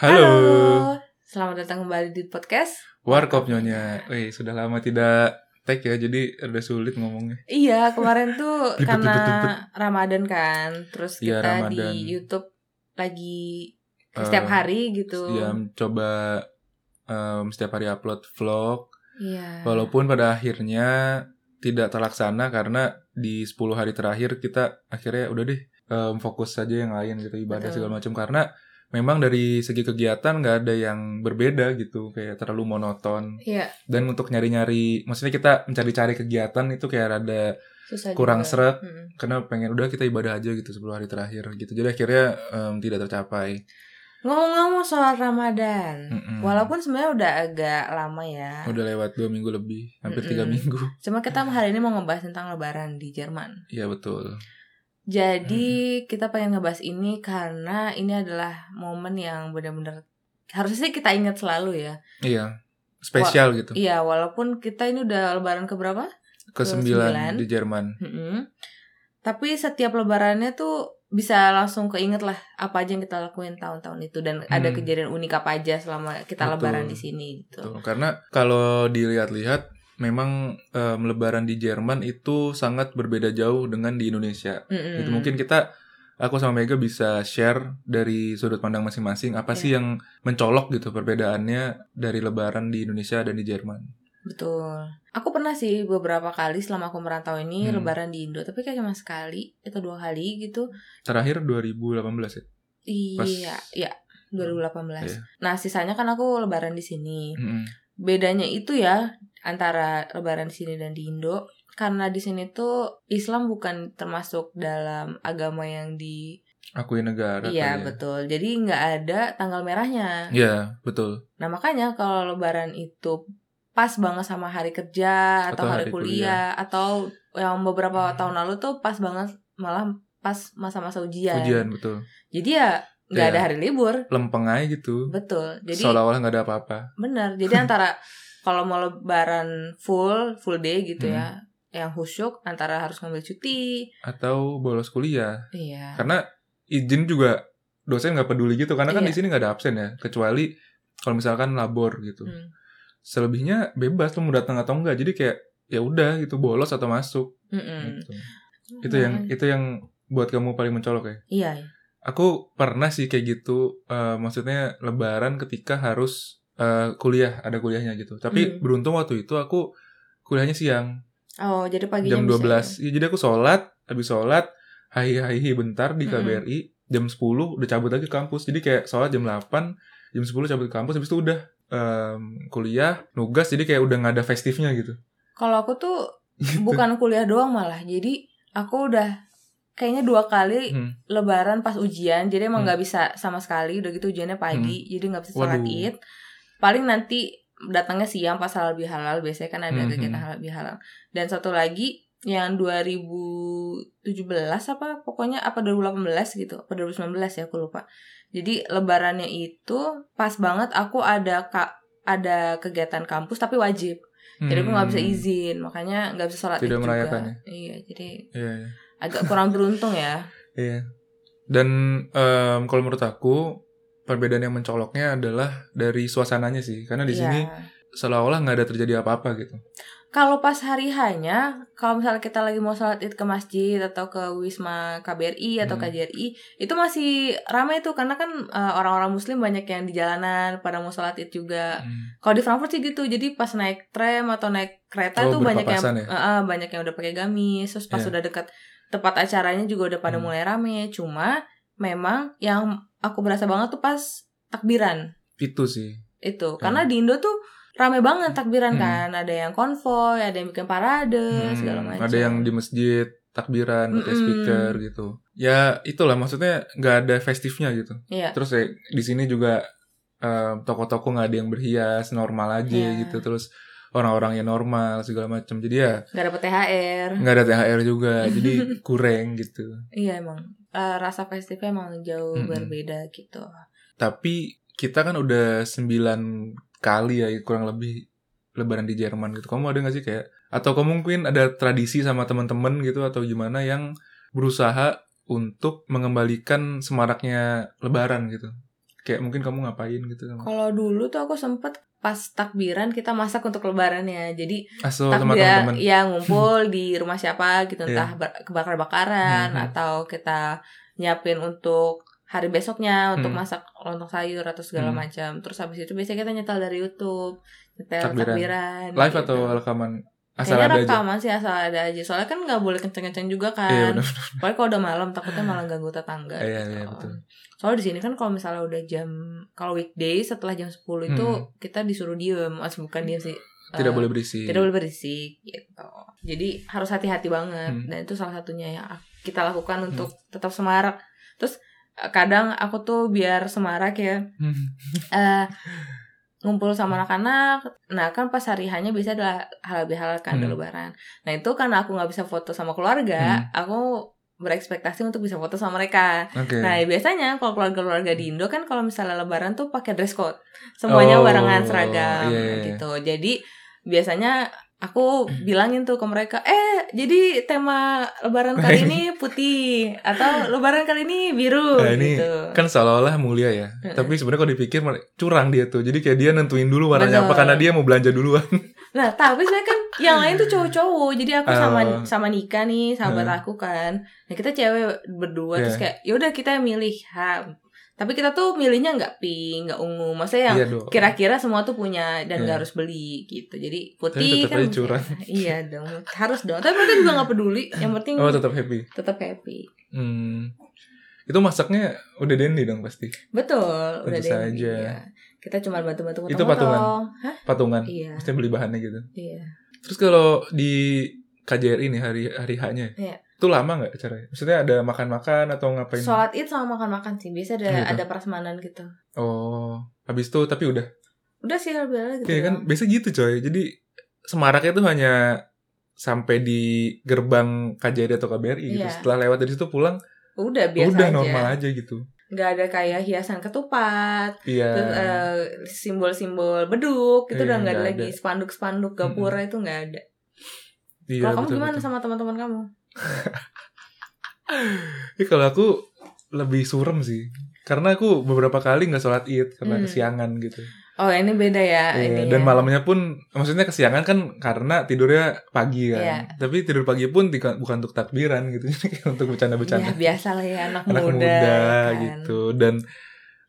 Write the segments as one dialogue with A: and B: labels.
A: Halo,
B: Selamat datang kembali di podcast.
A: Warkop Nyonya. Wih, sudah lama tidak tag ya, jadi udah sulit ngomongnya.
B: Iya, kemarin tuh
A: Ribet,
B: karena
A: ribet, ribet.
B: Ramadan kan, terus
A: Iya,
B: kita
A: Ramadan.
B: di YouTube lagi
A: Eh,
B: setiap hari gitu.
A: Ya, coba em, setiap hari upload vlog,
B: Iya.
A: walaupun pada akhirnya tidak terlaksana karena di 10 hari terakhir kita akhirnya udah deh em, fokus saja yang lain gitu ibadah
B: Betul.
A: segala macam karena memang dari segi kegiatan nggak ada yang berbeda gitu kayak terlalu monoton
B: Iya,
A: dan untuk nyari-nyari maksudnya kita mencari-cari kegiatan itu kayak rada
B: susah
A: kurang
B: juga.
A: seret
B: Mm-mm.
A: karena pengen udah kita ibadah aja gitu sebelum hari terakhir gitu jadi akhirnya em, tidak tercapai
B: Ngomong-ngomong soal Ramadan.
A: Mm-mm.
B: Walaupun sebenarnya udah agak lama ya.
A: udah lewat dua minggu lebih hampir tiga
B: Mm-mm.
A: minggu
B: Cuma kita hari ini mau ngebahas tentang lebaran di Jerman.
A: iya betul
B: Jadi kita pengen ngebahas ini karena ini adalah momen yang benar-benar harusnya sih kita ingat selalu ya.
A: iya spesial gitu
B: Iya, walaupun kita ini udah lebaran keberapa?
A: ke
B: sembilan.
A: sembilan di Jerman
B: Mm-mm. Tapi setiap lebarannya tuh bisa langsung keinget lah apa aja yang kita lakuin tahun-tahun itu dan ada
A: Hmm.
B: kejadian unik apa aja selama kita
A: Betul.
B: lebaran di sini gitu.
A: Betul. karena kalau dilihat-lihat memang em, lebaran di Jerman itu sangat berbeda jauh dengan di Indonesia
B: Mm-mm.
A: itu mungkin kita aku sama Mega bisa share dari sudut pandang masing-masing apa sih yang mencolok gitu perbedaannya dari lebaran di Indonesia dan di Jerman
B: betul. Aku pernah sih beberapa kali selama aku merantau ini
A: Hmm.
B: lebaran di Indo, tapi kayak cuma sekali atau dua kali gitu.
A: terakhir 2018 ya Pas-
B: Iya, iya. 2018.
A: Iya.
B: Nah, sisanya kan aku lebaran di sini.
A: Mm-mm.
B: bedanya itu ya antara lebaran di sini dan di Indo karena di sini tuh Islam bukan termasuk dalam agama yang di
A: akui negara
B: iya
A: kali ya.
B: betul jadi nggak ada tanggal merahnya
A: Iya, betul
B: nah makanya kalau lebaran itu pas banget sama hari kerja atau, hari, kuliah, atau yang
A: Hmm.
B: beberapa tahun lalu tuh pas banget malah pas masa-masa ujian.
A: ujian betul
B: jadi ya nggak
A: Iya.
B: ada hari libur
A: lempeng aja gitu
B: betul jadi
A: seolah-olah nggak ada apa-apa
B: Benar. Jadi antara kalau mau lebaran full, full day gitu ya,
A: Hmm.
B: yang khusyuk antara harus ngambil cuti.
A: atau bolos kuliah
B: Iya.
A: karena izin juga dosen nggak peduli gitu karena kan
B: Iya.
A: di sini nggak ada absen ya kecuali kalau misalkan labor gitu
B: Hmm.
A: selebihnya bebas lo mau datang atau enggak jadi kayak ya udah gitu bolos atau masuk
B: Mm-mm.
A: gitu. itu yang
B: Hmm.
A: itu yang buat kamu paling mencolok ya
B: Iya.
A: Aku pernah sih kayak gitu, eh, maksudnya lebaran ketika harus eh, kuliah, ada kuliahnya gitu. Tapi
B: Hmm.
A: beruntung waktu itu aku kuliahnya siang,
B: Oh, jadi paginya
A: jam
B: bisa
A: 12. Ya, jadi aku sholat, habis sholat, hai hai hai bentar di
B: Mm-mm.
A: KBRI, jam 10 udah cabut lagi ke kampus. Jadi kayak sholat jam 8, jam 10 cabut ke kampus, habis itu udah em, kuliah, nugas, jadi kayak udah nggak ada festifnya gitu.
B: ya. Kalau aku tuh
A: Gitu.
B: bukan kuliah doang malah. Jadi aku udah kayaknya dua kali
A: Hmm.
B: lebaran pas ujian. Jadi
A: Hmm.
B: emang nggak bisa sama sekali. Udah gitu ujiannya pagi, jadi nggak bisa sholat
A: Waduh.
B: id. Paling nanti datangnya siang pas halal bihalal. Biasanya kan ada
A: Mhm.
B: kegiatan halal bihalal. Dan satu lagi yang 2017 apa pokoknya apa 2018 gitu apa 2019 ya aku lupa jadi lebarannya itu pas banget aku ada ka- ada kegiatan kampus tapi wajib jadi aku nggak bisa
A: Hmm.
B: izin makanya nggak bisa sholat
A: Tidak
B: id
A: merayakannya.
B: juga. iya jadi
A: Iya, iya.
B: agak kurang beruntung ya
A: Iya. Dan em, kalau menurut aku perbedaan yang mencoloknya adalah dari suasananya sih, karena di
B: Iya.
A: sini seolah-olah nggak ada terjadi apa-apa gitu.
B: Kalau pas hari hanya, kalau misalnya kita lagi mau sholat id ke masjid atau ke wisma KBRI atau
A: Hmm.
B: KJRI, itu masih ramai tuh karena kan eh, orang-orang Muslim banyak yang di jalanan pada mau sholat id juga. Kalau di Frankfurt sih gitu, jadi pas naik tram atau naik kereta
A: Oh,
B: tuh banyak yang
A: berpapasan ya?
B: eh, eh, banyak yang udah pakai gamis, terus pas
A: Iya.
B: udah dekat tempat acaranya juga udah pada
A: Hmm.
B: mulai rame. Cuma memang yang aku berasa banget tuh pas takbiran
A: Itu sih. Ya.
B: itu karena di Indo tuh rame banget takbiran
A: Hmm.
B: kan ada yang konvoy ada yang bikin parade
A: Hmm,
B: Eh, segala macam
A: ada yang di masjid takbiran pakai
B: Mm-mm.
A: speaker gitu. Ya itulah maksudnya nggak ada festifnya gitu.
B: iya
A: Terus ya, di sini juga em, toko-toko nggak ada yang berhias, normal aja
B: Iya.
A: gitu. Terus orang-orang yang normal segala macam. Jadi ya
B: nggak dapet THR
A: nggak ada THR juga. jadi kurang gitu.
B: iya emang Eh, rasa festifnya emang jauh
A: Mm-mm.
B: berbeda gitu
A: Tapi kita kan udah 9 kali ya kurang lebih lebaran di Jerman gitu. Kamu ada gak sih kayak atau kamu mungkin ada tradisi sama teman-teman gitu atau gimana yang berusaha untuk mengembalikan semaraknya lebaran gitu. kayak mungkin kamu ngapain gitu sama
B: Kalau dulu tuh aku sempet pas takbiran kita masak untuk lebarannya. Jadi
A: aso Ah, sama
B: takbir
A: teman-teman
B: ya ngumpul di rumah siapa gitu
A: Iya.
B: entah ber- kebakar-bakaran
A: Mhm.
B: atau kita nyiapin untuk hari besoknya untuk
A: Hmm.
B: masak lontong sayur atau segala
A: Hmm.
B: macam. Terus habis itu biasanya kita nyetel dari YouTube, nyetel
A: Takbiran.
B: takbiran.
A: live
B: gitu.
A: atau rekaman asal
B: Kayaknya
A: ada aja
B: rekaman sih asal ada aja. Soalnya kan nggak boleh kenceng-kenceng juga kan.
A: iya benar
B: Pokoknya kalau udah malam takutnya malah ganggu tetangga.
A: Iya,
B: gitu.
A: iya, betul.
B: Soalnya di sini kan kalau misalnya udah jam kalau weekday setelah jam 10 itu
A: Hmm.
B: kita disuruh diem, Mas bukan diem sih.
A: tidak
B: Eh,
A: boleh berisi
B: Tidak boleh berisik gitu. Jadi harus hati-hati banget
A: Hmm.
B: dan itu salah satunya yang ak- kita lakukan untuk tetap semarak. Terus eh, kadang aku tuh biar semarak ya
A: Hmm.
B: eh ngumpul sama anak-anak. Nah kan pas hari hanya bisa adalah halal bihalal kan ada
A: Hmm.
B: lebaran. Nah itu karena aku nggak bisa foto sama keluarga, aku berekspektasi untuk bisa foto sama mereka.
A: oke
B: Nah biasanya kalau keluarga-keluarga di Indo kan kalau misalnya lebaran tuh pakai dress code, semuanya
A: Oh,
B: barengan
A: iya,
B: seragam
A: iya, Hmm. iya.
B: gitu. Jadi biasanya aku bilangin tuh ke mereka, eh jadi tema lebaran kali ini putih atau lebaran kali ini biru
A: Nah, ini
B: gitu.
A: kan seolah-olah mulia ya
B: Heeh.
A: tapi sebenarnya kalau dipikir mer- curang dia tuh jadi kayak dia nentuin dulu warnanya apa
B: Betul.
A: karena dia mau belanja duluan
B: Nah, tapi saya kan yang lain tuh cowok-cowok. Jadi aku sama
A: Oh.
B: sama Nika nih, sahabat aku kan. Nah, kita cewek
A: Iya.
B: berdua terus kayak ya udah kita yang milih. Ha, tapi kita tuh milihnya nggak pink, nggak ungu. Maksudnya yang
A: iya dong
B: Ya, kira-kira semua tuh punya dan nggak
A: Iya.
B: harus beli gitu. Jadi
A: Tapi
B: putih
A: tetap
B: kan
A: aja curang.
B: Iya dong. Harus dong. Tapi mereka juga nggak peduli. Yang penting
A: oh tetap happy
B: tetap happy.
A: hmm. itu masaknya udah dandy dong pasti
B: Betul, udah
A: Tentu
B: deh.
A: saja.
B: Iya. Kita cuma bantu-bantu
A: Itu patungan?
B: motong-motong. Hah?
A: patungan
B: Iya,
A: mesti beli bahannya gitu
B: iya.
A: Terus kalau di KJRI nih hari hari H-nya,
B: Iya.
A: itu lama nggak acaranya? Maksudnya ada makan-makan atau ngapain?
B: Sholat id sama makan-makan sih. Biasa ada
A: Gitu.
B: ada prasmanan gitu.
A: Oh, habis itu tapi udah.
B: Udah sih hal bihalal gitu.
A: Iya kan,
B: doang.
A: biasa gitu coy. Jadi semaraknya itu hanya sampai di gerbang KJRI atau KBRI gitu.
B: Iya.
A: Setelah lewat dari situ pulang, ya
B: Udah biasa
A: udah
B: aja.
A: normal aja gitu.
B: Nggak ada kayak hiasan ketupat,
A: Iya.
B: terus eh, simbol-simbol beduk,
A: Iya,
B: itu udah nggak ada
A: nggak
B: lagi
A: ada.
B: spanduk-spanduk gapura itu nggak ada.
A: iya,
B: Kalau kamu
A: betul,
B: gimana
A: betul.
B: sama teman-teman kamu?
A: Ya, kalau aku lebih surem sih. Karena aku beberapa kali nggak sholat id karena
B: Hmm.
A: kesiangan gitu.
B: Oh ini beda ya.
A: Iya,
B: ini
A: dan
B: ya.
A: malamnya pun maksudnya kesiangan kan karena tidurnya pagi kan.
B: Iya.
A: Tapi tidur pagi pun tika- bukan untuk takbiran gitu, jadi kayak untuk
B: Ya
A: bercanda-bercanda.
B: biasa lah ya anak,
A: Anak muda,
B: ya kan.
A: gitu. Dan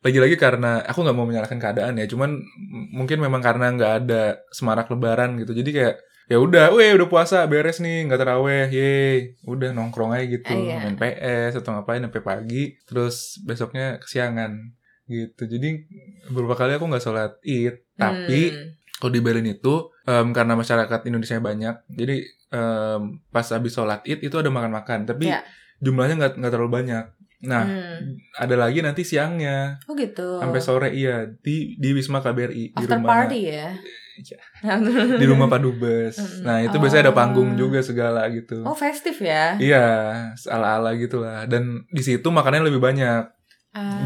A: lagi-lagi karena aku nggak mau menyalahkan keadaan ya, cuman m- mungkin memang karena nggak ada semarak lebaran gitu. Jadi kayak ya udah, weh udah puasa beres nih, nggak taraweh, ye, udah nongkrong aja gitu,
B: Iya.
A: main PS atau ngapain sampai pagi, terus besoknya kesiangan gitu. Jadi beberapa kali aku nggak sholat id, tapi
B: Hmm.
A: kalau di Berlin itu em, karena masyarakat Indonesia banyak jadi em, pas habis sholat id itu ada makan-makan tapi
B: Iya.
A: jumlahnya nggak nggak terlalu banyak nah
B: Hmm.
A: ada lagi nanti siangnya
B: Oh gitu.
A: sampai sore iya di di Wisma KBRI di
B: After
A: rumah
B: party ya.
A: Iya.
B: Nah,
A: di rumah Pak Dubes
B: Mm-mm.
A: nah itu biasanya ada
B: Oh.
A: panggung juga segala gitu
B: Oh festif ya.
A: Iya, ala-ala gitulah. Dan di situ makanannya lebih banyak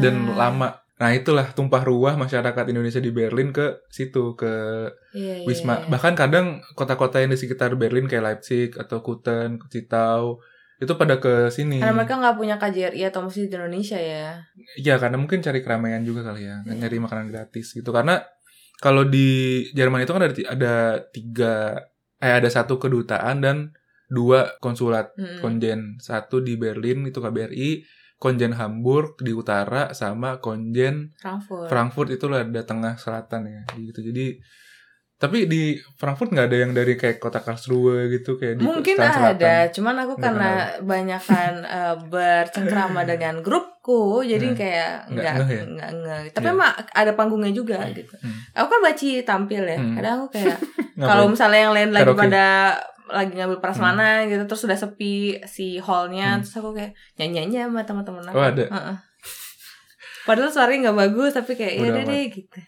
A: dan
B: Ah,
A: lama. Nah itulah tumpah ruah masyarakat Indonesia di Berlin ke situ ke
B: iya, iya,
A: Wisma.
B: iya.
A: Bahkan kadang kota-kota yang di sekitar Berlin kayak Leipzig atau Kuten, Citau itu pada ke sini.
B: Karena mereka nggak punya KJRI atau masjid di Indonesia ya.
A: Iya, karena mungkin cari keramaian juga kali ya, nyari makanan gratis gitu. Karena kalau di Jerman itu kan ada ti- ada tiga eh ada satu kedutaan dan dua konsulat,
B: Mm-mm.
A: konjen. Satu di Berlin itu KBRI, konjen Hamburg di utara sama konjen
B: Frankfurt.
A: Frankfurt itu lah ada tengah selatan ya gitu jadi tapi di Frankfurt nggak ada yang dari kayak kota Karlsruhe gitu kayak di
B: Mungkin
A: selatan selatan
B: ada, cuman aku
A: Nggak
B: karena banyakan eh, bercengkrama dengan grupku, jadi
A: Hmm.
B: kayak
A: Nggak
B: nggak
A: ngeh ya?
B: nggak ngeh. Tapi
A: Iya.
B: emang ada panggungnya juga gitu.
A: Hmm.
B: Aku kan baci tampil ya.
A: Hmm.
B: Kadang aku kayak
A: Ngapain?
B: kalau misalnya yang lain lagi
A: Karaoke.
B: pada lagi ngambil prasmanan gitu, terus sudah sepi si hallnya,
A: Hmm.
B: terus aku kayak nyanyi nyanyi sama teman-teman aku.
A: oh ada
B: Heeh. Padahal suaranya nggak bagus, tapi kayak ya
A: Bodo
B: udah
A: amat.
B: deh gitu.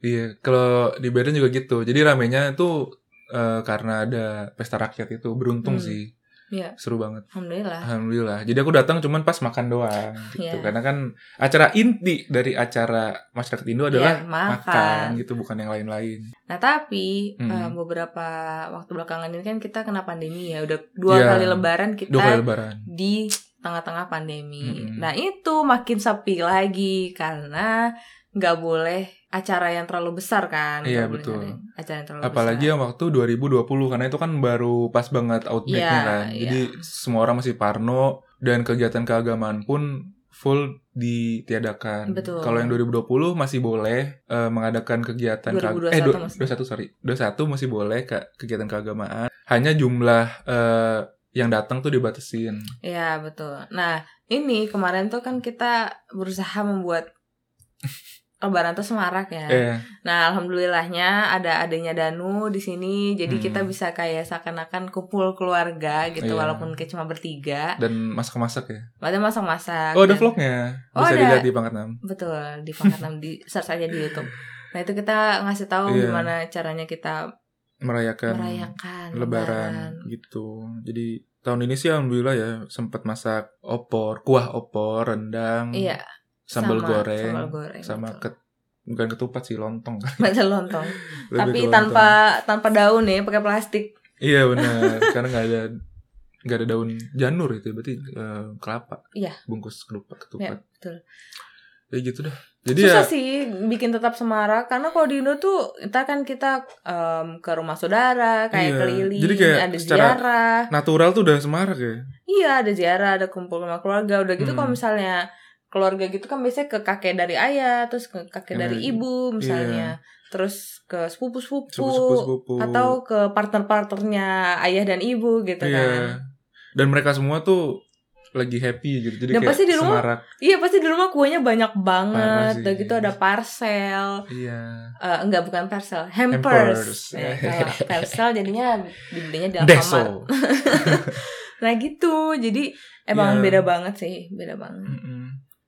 A: iya kalau di Berlin juga gitu jadi ramenya itu eh, karena ada pesta rakyat itu beruntung
B: Hmm.
A: sih
B: Iya.
A: seru banget
B: Alhamdulillah.
A: alhamdulillah jadi aku datang cuman pas makan doang gitu
B: Iya.
A: karena kan acara inti dari acara masyarakat Indo adalah
B: Iya,
A: Oh, makan gitu bukan yang lain-lain
B: Nah tapi
A: Hmm.
B: eh, beberapa waktu belakangan ini kan kita kena pandemi ya udah dua
A: Iya.
B: kali Lebaran kita
A: dua kali lebaran
B: di tengah-tengah pandemi.
A: Mm-mm.
B: Nah itu makin sepi lagi karena nggak boleh acara yang terlalu besar kan.
A: Iya,
B: Nggak boleh
A: betul.
B: ada Acara yang terlalu
A: Apalagi
B: besar.
A: yang waktu 2020 karena itu kan baru pas banget outbreak-nya
B: Iya,
A: kan. Jadi semua orang masih parno dan kegiatan keagamaan pun full ditiadakan.
B: Betul.
A: Kalau yang 2020 masih boleh eh, mengadakan kegiatan ke-
B: 2021
A: eh du-
B: masih.
A: 21 sorry. 21 masih boleh ke kegiatan keagamaan. Hanya jumlah eh, yang datang tuh dibatasin.
B: Iya betul. Nah ini kemarin tuh kan kita berusaha membuat Lebaran tuh semarak ya.
A: Eh,
B: Nah, alhamdulillahnya ada adanya Danu di sini, jadi
A: Hmm.
B: kita bisa kayak seakan-akan kumpul keluarga gitu,
A: Iya.
B: walaupun kayak cuma bertiga.
A: dan masak-masak ya.
B: Padahal masak-masak.
A: Oh, ada
B: dan-
A: vlognya.
B: Oh,
A: Bisa
B: ada.
A: dilihat di Pangkat Enam.
B: Betul, di Pangkat Enam, di search aja di YouTube. Nah, itu kita ngasih tahu
A: Iya.
B: gimana caranya kita
A: Merayakan
B: merayakan
A: Lebaran gitu. Jadi tahun ini sih alhamdulillah ya sempat masak opor, kuah opor, rendang,
B: Iya,
A: Hmm, sambal
B: sama
A: goreng,
B: sambal goreng,
A: sama
B: betul.
A: ket bukan ketupat sih lontong.
B: Macam lontong.
A: Lebih
B: Tapi
A: ke lontong.
B: tanpa tanpa daun ya, pakai plastik.
A: Iya benar, karena nggak ada nggak ada daun janur itu berarti eh, kelapa.
B: Iya.
A: Bungkus ketupat
B: Ya,
A: ketupat.
B: betul.
A: Ya gitu dah. Jadi
B: Susah
A: ya
B: sih bikin tetap semarak karena kalau di Indo tuh entar kan kita em, ke rumah saudara,
A: Iya.
B: kayak keliling,
A: Jadi kayak
B: ada
A: secara-
B: ziarah.
A: natural tuh udah semarak ya.
B: Iya, ada ziarah, ada kumpul sama keluarga. Udah gitu
A: Hmm.
B: kalau misalnya keluarga gitu kan biasanya ke kakek dari ayah, terus ke kakek
A: Yang
B: dari
A: dari-
B: ibu misalnya. Terus ke sepupu-sepupu
A: Iya. Sepupu-sepupu.
B: atau ke partner-partnernya ayah dan ibu gitu kan.
A: iya. Dan mereka semua tuh lagi happy gitu. Jadi
B: Dan
A: kayak
B: pasti di rumah-
A: semarak.
B: Iya, pasti di rumah kuenya
A: Parah
B: banyak banget.
A: sih.
B: Udah gitu ada parcel.
A: Iya.
B: Eh, enggak bukan parcel, hampers.
A: Hampers.
B: Ya, kalau parcel jadinya dibelinya di Alfamart.
A: Deso.
B: Nah gitu, jadi
A: Iya.
B: emang beda banget sih, beda banget.
A: Mm-mm.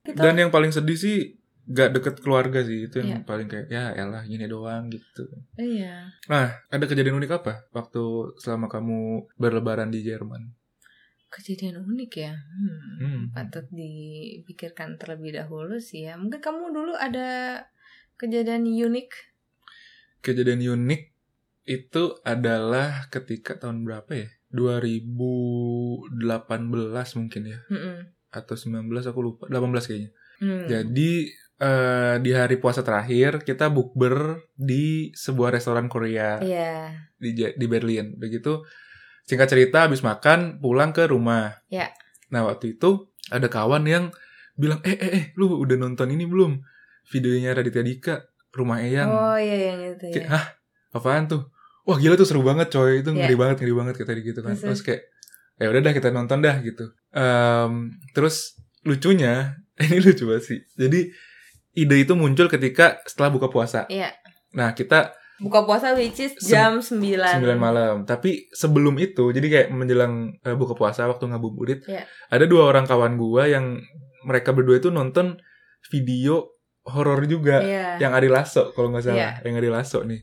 B: Gitu.
A: Dan yang paling sedih sih gak deket keluarga sih itu yang
B: Iya.
A: paling kayak ya elah gini doang gitu.
B: iya.
A: Ada kejadian unik apa waktu selama kamu berlebaran di Jerman?
B: Kejadian unik ya. Hmm,
A: Hmm.
B: Patut dipikirkan terlebih dahulu sih ya. Mungkin kamu dulu ada kejadian unik.
A: Kejadian unik itu adalah ketika tahun berapa ya? 2018 mungkin ya
B: Mm-mm.
A: atau 19 aku lupa 18 kayaknya.
B: Hmm.
A: Jadi eh, di hari puasa terakhir kita bukber di sebuah restoran Korea.
B: Iya.
A: di Ja- di Berlin. Begitu singkat cerita habis makan pulang ke rumah.
B: Ya.
A: Nah, waktu itu ada kawan yang bilang, "Eh eh eh, lu udah nonton ini belum? Videonya Raditya Dika, Rumah Eyang."
B: Oh iya Iya. yang itu
A: Kayak,
B: ya.
A: "Hah? Apaan tuh?" Wah, gila tuh seru banget coy. Itu ngeri banget, ngeri banget kata dia gitu kan.
B: Terus?
A: Terus kayak, "Ya udah dah kita nonton dah" gitu. Em, terus lucunya, ini lucu banget sih. Jadi ide itu muncul ketika setelah buka puasa.
B: Iya.
A: Nah, kita
B: Buka puasa which is
A: Sem-
B: jam 9.
A: 9 malam. Tapi sebelum itu, jadi kayak menjelang eh, buka puasa waktu ngabuburit,
B: Iya.
A: ada dua orang kawan gua yang mereka berdua itu nonton video horor juga
B: Iya.
A: yang Ari Lasso kalau nggak salah, yang Ari Lasso nih.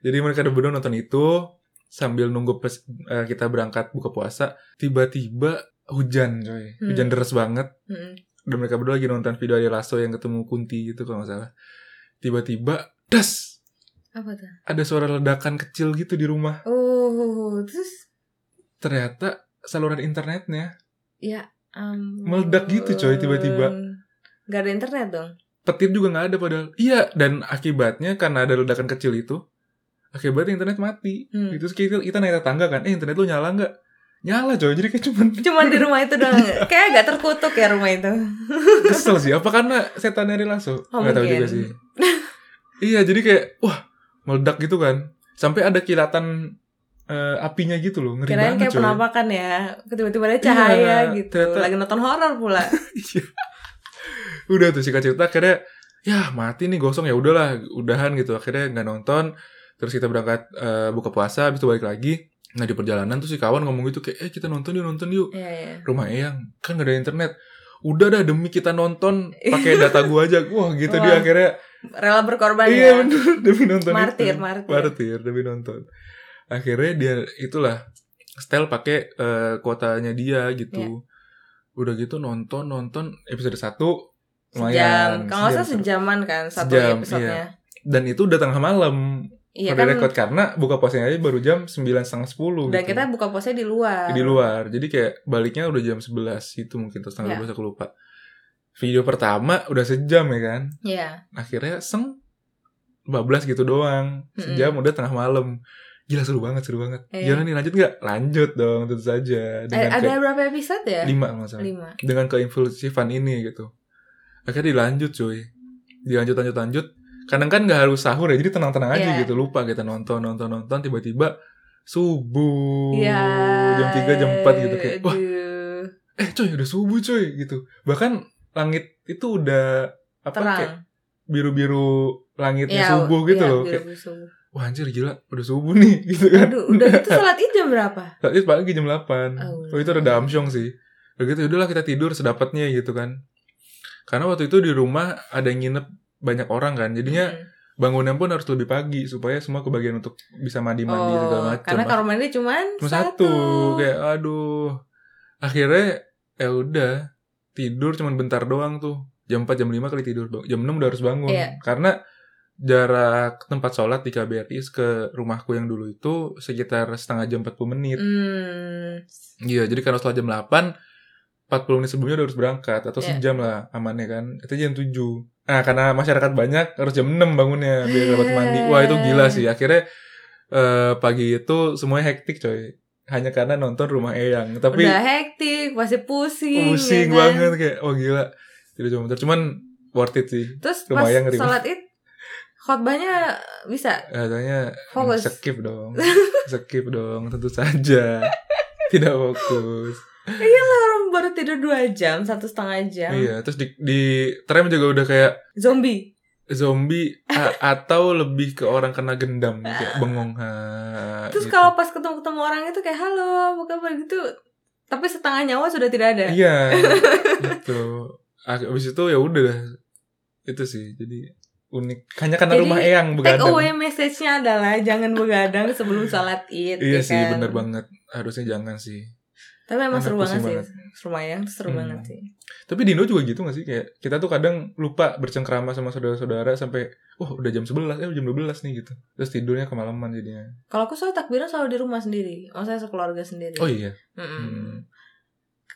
A: Jadi mereka berdua nonton itu sambil nunggu pes- eh, kita berangkat buka puasa, tiba-tiba hujan coy.
B: Hmm.
A: Hujan deras banget
B: Mm-mm.
A: dan mereka berdua lagi nonton video Ari Lasso yang ketemu Kunti gitu kalau nggak salah. Tiba-tiba das
B: Apa tuh?
A: ada suara ledakan kecil gitu di rumah
B: Uh, terus
A: ternyata saluran internetnya
B: ya ampun.
A: Meledak gitu, coy, tiba-tiba.
B: Gak ada internet dong.
A: petir juga nggak ada padahal iya dan akibatnya karena ada ledakan kecil itu akibatnya internet mati
B: Hmm.
A: gitu Terus kita, kita naik tetangga kan eh internet lu nyala nggak nyala coy jadi kayak cuman
B: Cuman di rumah itu doang.
A: Iya.
B: Kayak agak terkutuk ya rumah itu.
A: kesel sih apa karena setan Ari Lasso
B: Oh,
A: nggak tahu
B: mungkin.
A: juga sih iya jadi kayak wah meledak gitu kan sampai ada kilatan eh, apinya gitu loh ngeri
B: Kirain
A: banget
B: kayak
A: coy
B: penampakan ya. Tiba-tiba ada cahaya
A: Iya,
B: gitu.
A: ternyata-
B: Lagi nonton horor pula.
A: Iya. udah tuh singkat cerita akhirnya ya mati nih gosong ya udahlah udahan gitu akhirnya nggak nonton terus kita berangkat eh, buka puasa habis itu balik lagi nah di perjalanan tuh si kawan ngomong gitu kayak eh kita nonton yuk nonton yuk
B: Iya, iya.
A: rumah eyang kan gak ada internet udah dah demi kita nonton pakai data gua aja wah gitu dia
B: Wah,
A: akhirnya
B: Rela berkorban
A: iya
B: ya.
A: bener demi nonton itu.
B: Martir, martir.
A: martir demi nonton akhirnya dia itulah style pakai eh, kuotanya dia gitu
B: Iya.
A: udah gitu nonton nonton episode 1
B: Sejam.
A: lumayan
B: Kalau nggak salah
A: sejam.
B: sejaman kan satu
A: Sejam, iya.
B: episodenya.
A: dan itu udah tengah malam
B: Iya
A: for the
B: kan.
A: record karena buka puasanya aja baru jam sembilan setengah sepuluh
B: Dan
A: gitu.
B: kita buka puasanya di luar.
A: di luar jadi kayak baliknya udah jam 11 itu mungkin terus tanggal
B: Ya.
A: 12 aku lupa video pertama udah sejam ya kan
B: Iya.
A: akhirnya seng 12 gitu doang sejam udah tengah malam gila seru banget seru banget
B: Iya.
A: gimana nih lanjut nggak lanjut dong tentu saja
B: Eh,
A: dengan
B: ada
A: ke
B: berapa episode ya?
A: lima kalau nggak salah.
B: Lima.
A: dengan keinflusifan ini gitu akhirnya dilanjut cuy dilanjut lanjut lanjut kadang kan nggak harus sahur ya jadi tenang tenang aja
B: Iya.
A: gitu lupa kita nonton nonton nonton tiba-tiba subuh
B: Iya.
A: jam 3 jam 4 gitu kayak wah
B: aduh,
A: eh coy udah subuh coy gitu bahkan langit itu udah apa
B: terang.
A: kayak biru-biru langitnya
B: Iya,
A: subuh gitu
B: iya,
A: loh kayak
B: biru-biru subuh.
A: wah anjir gila udah subuh nih gitu kan
B: Aduh, udah itu salat id jam berapa?
A: tapi pagi jam 8
B: Oh.
A: oh, itu ada damsyong sih udah gitu udahlah kita tidur sedapatnya gitu kan karena waktu itu di rumah ada yang nginep banyak orang kan jadinya
B: Hmm.
A: bangunnya pun harus lebih pagi supaya semua kebagian untuk bisa mandi-mandi
B: oh,
A: segala macam
B: Karena kamar mandi cuman
A: cuma satu. kayak gitu. aduh akhirnya ya udah tidur cuman bentar doang tuh jam 4 jam 5 kali tidur Bang. jam 6 udah harus bangun
B: Iya.
A: karena jarak tempat sholat di KBRI ke rumahku yang dulu itu sekitar setengah jam 40 menit
B: Hmm.
A: iya jadi karena setelah jam 8 40 menit sebelumnya udah harus berangkat atau
B: Iya.
A: sejam lah amannya kan itu jam 7 nah karena masyarakat banyak harus jam 6 bangunnya
B: Iya.
A: biar dapat mandi wah itu gila sih akhirnya eh, pagi itu semuanya hektik coy hanya karena nonton rumah Eyang tapi
B: udah hektik, pasti pusing.
A: pusing
B: ya kan?
A: banget kayak oh gila tidur cuma bentar cuman worth it sih
B: Terus pas
A: Lumayan ngeri.
B: salat id khotbahnya bisa.
A: katanya hmm,
B: Fokus.
A: skip dong skip dong tentu saja tidak fokus
B: Iya Orang baru tidur dua jam, satu setengah jam.
A: iya terus di, di tram juga udah kayak
B: Zombie.
A: zombie a- atau lebih ke orang kena gendam kayak bengong ha,
B: Terus
A: gitu.
B: kalau pas ketemu-ketemu orang itu kayak halo, apa kabar gitu. Tapi setengah nyawa sudah tidak ada.
A: iya gitu Ak- abis itu ya udah itu sih jadi unik hanya karena
B: Jadi,
A: rumah eyang
B: Take
A: begadang
B: away message-nya adalah jangan begadang sebelum sholat id.
A: iya
B: ya
A: sih
B: kan?
A: bener banget harusnya jangan sih
B: Tapi emang
A: Anak
B: seru banget
A: pusing
B: sih.
A: banget.
B: Seru banget, seru
A: Hmm.
B: banget sih.
A: tapi Dino juga gitu gak sih kayak kita tuh kadang lupa bercengkrama sama saudara-saudara sampai oh udah jam 11 eh jam 12 nih gitu terus tidurnya kemalaman jadinya
B: Kalau aku selalu takbiran selalu di rumah sendiri. Maksudnya sekeluarga sendiri.
A: oh iya
B: Mm-mm.
A: Hmm.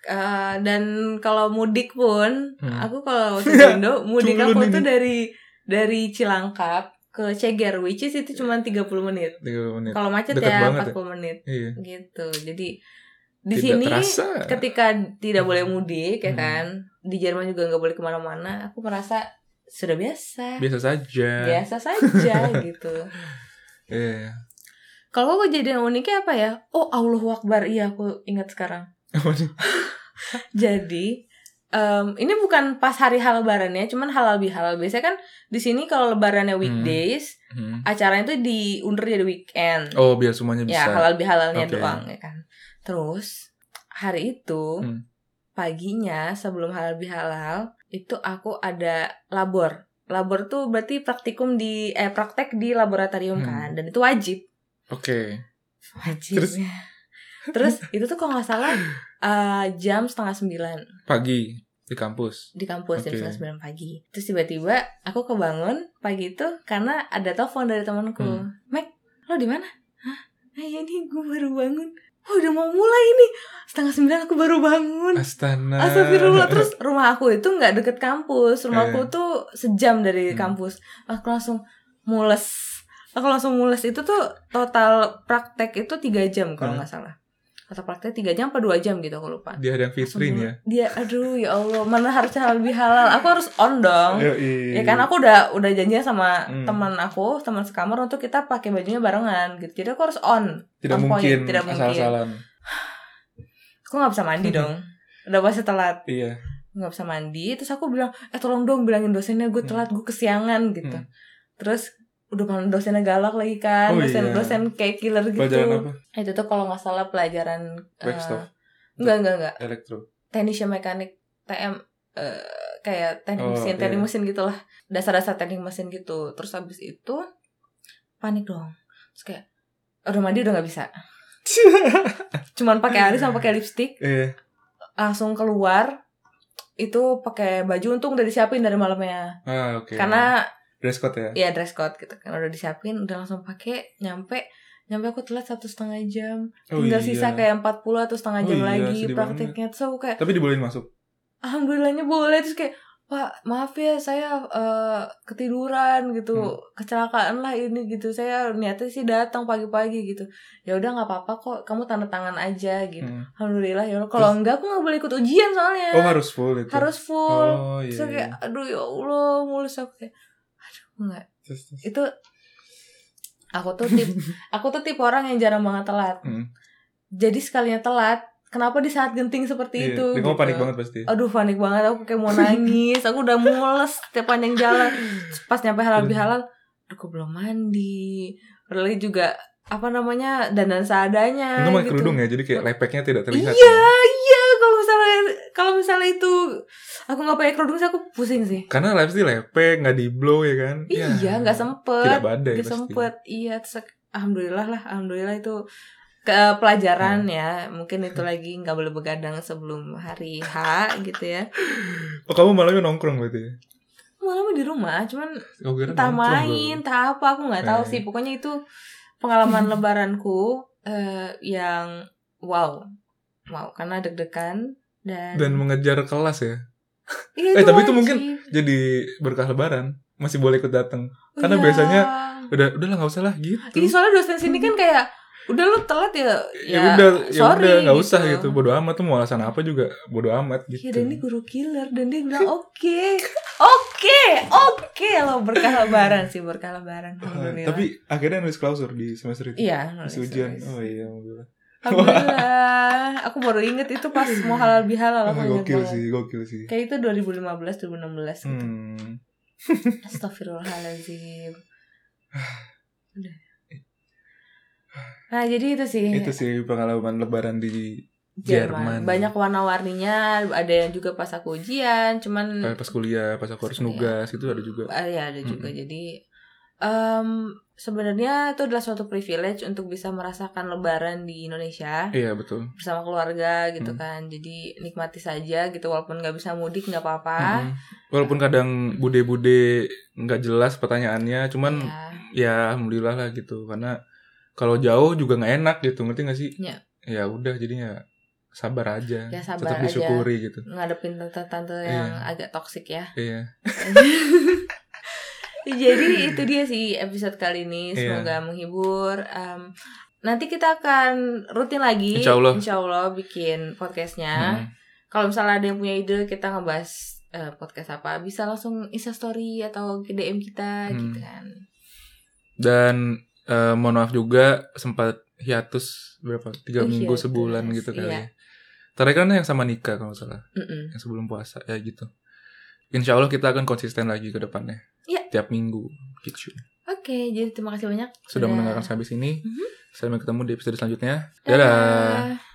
B: Eh, dan kalau mudik pun,
A: Hmm.
B: aku kalau waktu di Indo, mudik
A: Culun
B: aku tuh
A: ini.
B: dari dari Cilangkap ke Ceger, which is itu cuma 30 menit.
A: 30 menit
B: Kalau macet
A: Iya. Deket
B: ya
A: banget
B: 40 menit
A: iya
B: gitu. Jadi di
A: Tidak
B: sini
A: terasa.
B: ketika tidak boleh mudik ya
A: Hmm.
B: kan, di Jerman juga nggak boleh kemana-mana. Aku merasa sudah biasa,
A: biasa saja
B: biasa saja gitu.
A: Iya.
B: Kalau kejadian uniknya apa ya? Oh Allahu Akbar, iya aku ingat sekarang.
A: Apa sih?
B: Jadi em, ini bukan pas hari hal lebarannya, cuman halal bihalal. Biasanya kan di sini kalau lebarannya weekdays,
A: Hmm.
B: acaranya itu diundur jadi weekend.
A: Oh biar semuanya bisa.
B: ya halal bihalalnya
A: Oke.
B: doang ya kan. Terus hari itu
A: Hmm.
B: paginya sebelum halal bihalal itu aku ada labor. Labor tuh berarti praktikum di eh praktek di
A: Hmm.
B: laboratorium kan dan itu wajib.
A: Oke.
B: Wajib.
A: Terus?
B: Terus, itu tuh kalau nggak salah eh, jam setengah sembilan
A: Pagi di kampus.
B: di kampus
A: Oke.
B: jam setengah 9 pagi. Terus tiba-tiba aku kebangun pagi itu karena ada telepon dari temanku.
A: Hmm.
B: Mac, lo di mana? Hah? Nah, ya ini gue baru bangun. Wah, udah mau mulai ini. Setengah sembilan aku baru bangun.
A: Astana.
B: Astagfirullah terus rumah aku itu nggak deket kampus rumah
A: Eh.
B: aku tuh sejam
A: Hmm.
B: dari kampus aku langsung mules aku langsung mules itu tuh total praktek itu tiga jam kalau
A: Hmm.
B: nggak salah total praktek tiga jam apa dua jam gitu aku lupa
A: Dia ada yang fitrin
B: Langsung
A: ya.
B: dia aduh ya allah mana harusnya lebih halal aku harus on dong
A: Yoi.
B: ya kan aku udah udah janjian sama
A: Iya. Hmm.
B: teman aku teman sekamar untuk kita pakai bajunya barengan gitu jadi aku harus on
A: tidak
B: on point,
A: mungkin
B: ya, tidak mungkin.
A: asal-asalan.
B: aku nggak bisa mandi
A: Hmm.
B: dong udah pasti telat
A: Iya.
B: nggak bisa mandi terus aku bilang eh tolong dong bilangin dosennya gue telat gue kesiangan gitu
A: Hmm.
B: terus udah malam dosennya galak lagi kan
A: Oh,
B: dosen
A: iya.
B: dosen kayak killer gitu
A: Pelajaran apa?
B: itu tuh kalau nggak salah pelajaran
A: Backstop.
B: eh, enggak enggak enggak
A: Elektro.
B: teknisnya mekanik TM eh, kayak teknik
A: Oh,
B: mesin
A: iya.
B: teknik mesin gitulah dasar-dasar teknik mesin gitu terus habis itu panik dong terus kayak udah mandi udah nggak bisa cuman pakai alis sama pakai lipstick
A: Iya.
B: langsung keluar itu pakai baju untung udah disiapin dari malamnya
A: Ah oke.
B: karena
A: dress code ya
B: ya dress code gitu kan udah disiapin udah langsung pakai nyampe nyampe aku telat satu setengah jam
A: Oh
B: tinggal
A: iya.
B: sisa kayak 40 atau setengah
A: Oh
B: jam
A: iya,
B: lagi
A: sedih
B: praktiknya terus aku kayak
A: tapi dibolehin masuk
B: alhamdulillahnya boleh terus kayak pak maaf ya saya eh, ketiduran gitu
A: Hmm.
B: kecelakaan lah ini gitu saya niatnya sih datang pagi-pagi gitu ya udah nggak apa-apa kok kamu tanda tangan aja gitu
A: Hmm.
B: alhamdulillah ya Allah. kalau enggak aku nggak boleh ikut ujian soalnya
A: oh harus full itu
B: Harus full
A: oh iya,
B: terus aku
A: iya.
B: kayak aduh ya allah mulus aku kayak aduh nggak
A: Terus, terus.
B: itu aku tuh tip aku tuh tipe orang yang jarang banget telat
A: Hmm.
B: jadi sekalinya telat kenapa di saat genting seperti
A: Iya,
B: itu
A: dan kamu
B: gitu.
A: panik banget pasti
B: aduh panik banget aku kayak mau nangis aku udah mules tiap panjang jalan Terus pas nyampe
A: Iya.
B: halal bihalal aduh, aku belum mandi Padahal juga apa namanya dandan seadanya
A: Untung pakai
B: gitu.
A: kerudung ya, jadi kayak lepeknya tidak terlihat.
B: iya
A: ya.
B: iya kalau misalnya kalau misalnya itu aku nggak pakai kerudung sih aku pusing sih
A: Karena lipstick lepek, nggak di blow ya kan?
B: iya nggak sempet
A: Tidak badai
B: Gak
A: pasti.
B: sempet iya terus ak- alhamdulillah lah alhamdulillah itu ke pelajaran ya
A: Iya.
B: mungkin itu lagi nggak boleh begadang sebelum hari H gitu ya
A: Oh kamu malamnya nongkrong berarti? ya?
B: malam di rumah cuman
A: Kau Oh, kira
B: entah
A: nongkrong
B: main
A: lu.
B: entah apa aku nggak tahu
A: Eh.
B: sih pokoknya itu pengalaman lebaranku eh, yang wow wow karena deg-degan dan,
A: Dan mengejar kelas ya.
B: Iya,
A: eh, tapi itu mungkin
B: wajib.
A: Jadi berkah lebaran masih boleh ikut datang. karena
B: Iya.
A: biasanya- Udah, udahlah nggak usah lah gitu.
B: ini soalnya dosen sini kan kayak udah lu telat ya
A: ya, udah, ya
B: sorry,
A: udah nggak usah gitu. Bodoh amat tuh mau alasan apa juga bodoh amat gitu.
B: Iya dan ini guru killer dan dia bilang oke oke oke lo berkah lebaran sih berkah lebaran
A: Ah,
B: alhamdulillah
A: tapi akhirnya nulis klausur di semester itu.
B: ya? iya nulis,
A: Masih ujian.
B: nulis.
A: Oh iya, alhamdulillah.
B: alhamdulillah aku baru inget itu pas mau halal bihalal
A: Ah,
B: aku inget
A: gokil
B: banget.
A: sih, gokil sih.
B: kayak itu 2015 2016 gitu
A: Hmm.
B: Astagfirullahaladzim Udah. Nah jadi itu sih
A: Itu sih pengalaman lebaran di Jerman.
B: Jerman. Banyak warna-warninya Ada yang juga pas aku ujian Cuman
A: eh, pas kuliah, pas aku harus
B: Iya.
A: nugas itu ada juga.
B: Ah, iya, ada juga.
A: Mm-mm.
B: Jadi em, sebenarnya itu adalah suatu privilege untuk bisa merasakan Lebaran di Indonesia
A: Iya, betul.
B: bersama keluarga gitu
A: Mm.
B: kan. Jadi nikmati saja gitu walaupun nggak bisa mudik nggak apa-apa.
A: Mm-mm. Walaupun kadang bude-bude nggak jelas pertanyaannya, cuman
B: Ya.
A: ya alhamdulillah lah gitu. Karena kalau jauh juga nggak enak gitu, ngerti nggak sih?
B: Iya.
A: Ya udah jadinya sabar aja.
B: Ya, sabar
A: Tetap
B: aja.
A: disyukuri gitu.
B: Ngadepin tante-tante yang
A: Iya.
B: agak toksik ya.
A: Iya.
B: Jadi itu dia sih episode kali ini.
A: Iya.
B: Semoga menghibur. Em, nanti kita akan rutin lagi.
A: Insya Allah.
B: Allah bikin podcastnya.
A: Mm.
B: kalau misalnya ada yang punya ide kita ngebahas eh, podcast apa bisa langsung insta story atau ke dm kita
A: Hmm.
B: gitu kan
A: Dan eh, mohon maaf juga sempat hiatus berapa? Tiga
B: Oh,
A: minggu
B: hiatus,
A: sebulan gitu kali.
B: iya.
A: ya. Terakhir kan yang sama nikah kalau nggak salah.
B: Mm-mm.
A: yang sebelum puasa ya gitu. Insya Allah kita akan konsisten lagi ke depannya.
B: Iya.
A: Tiap minggu gitu.
B: oke jadi terima kasih banyak
A: Sudah
B: Udah.
A: mendengarkan sampai sini.
B: Iya. Mhm.
A: Sampai ketemu di episode selanjutnya. Dadah.
B: Dadah.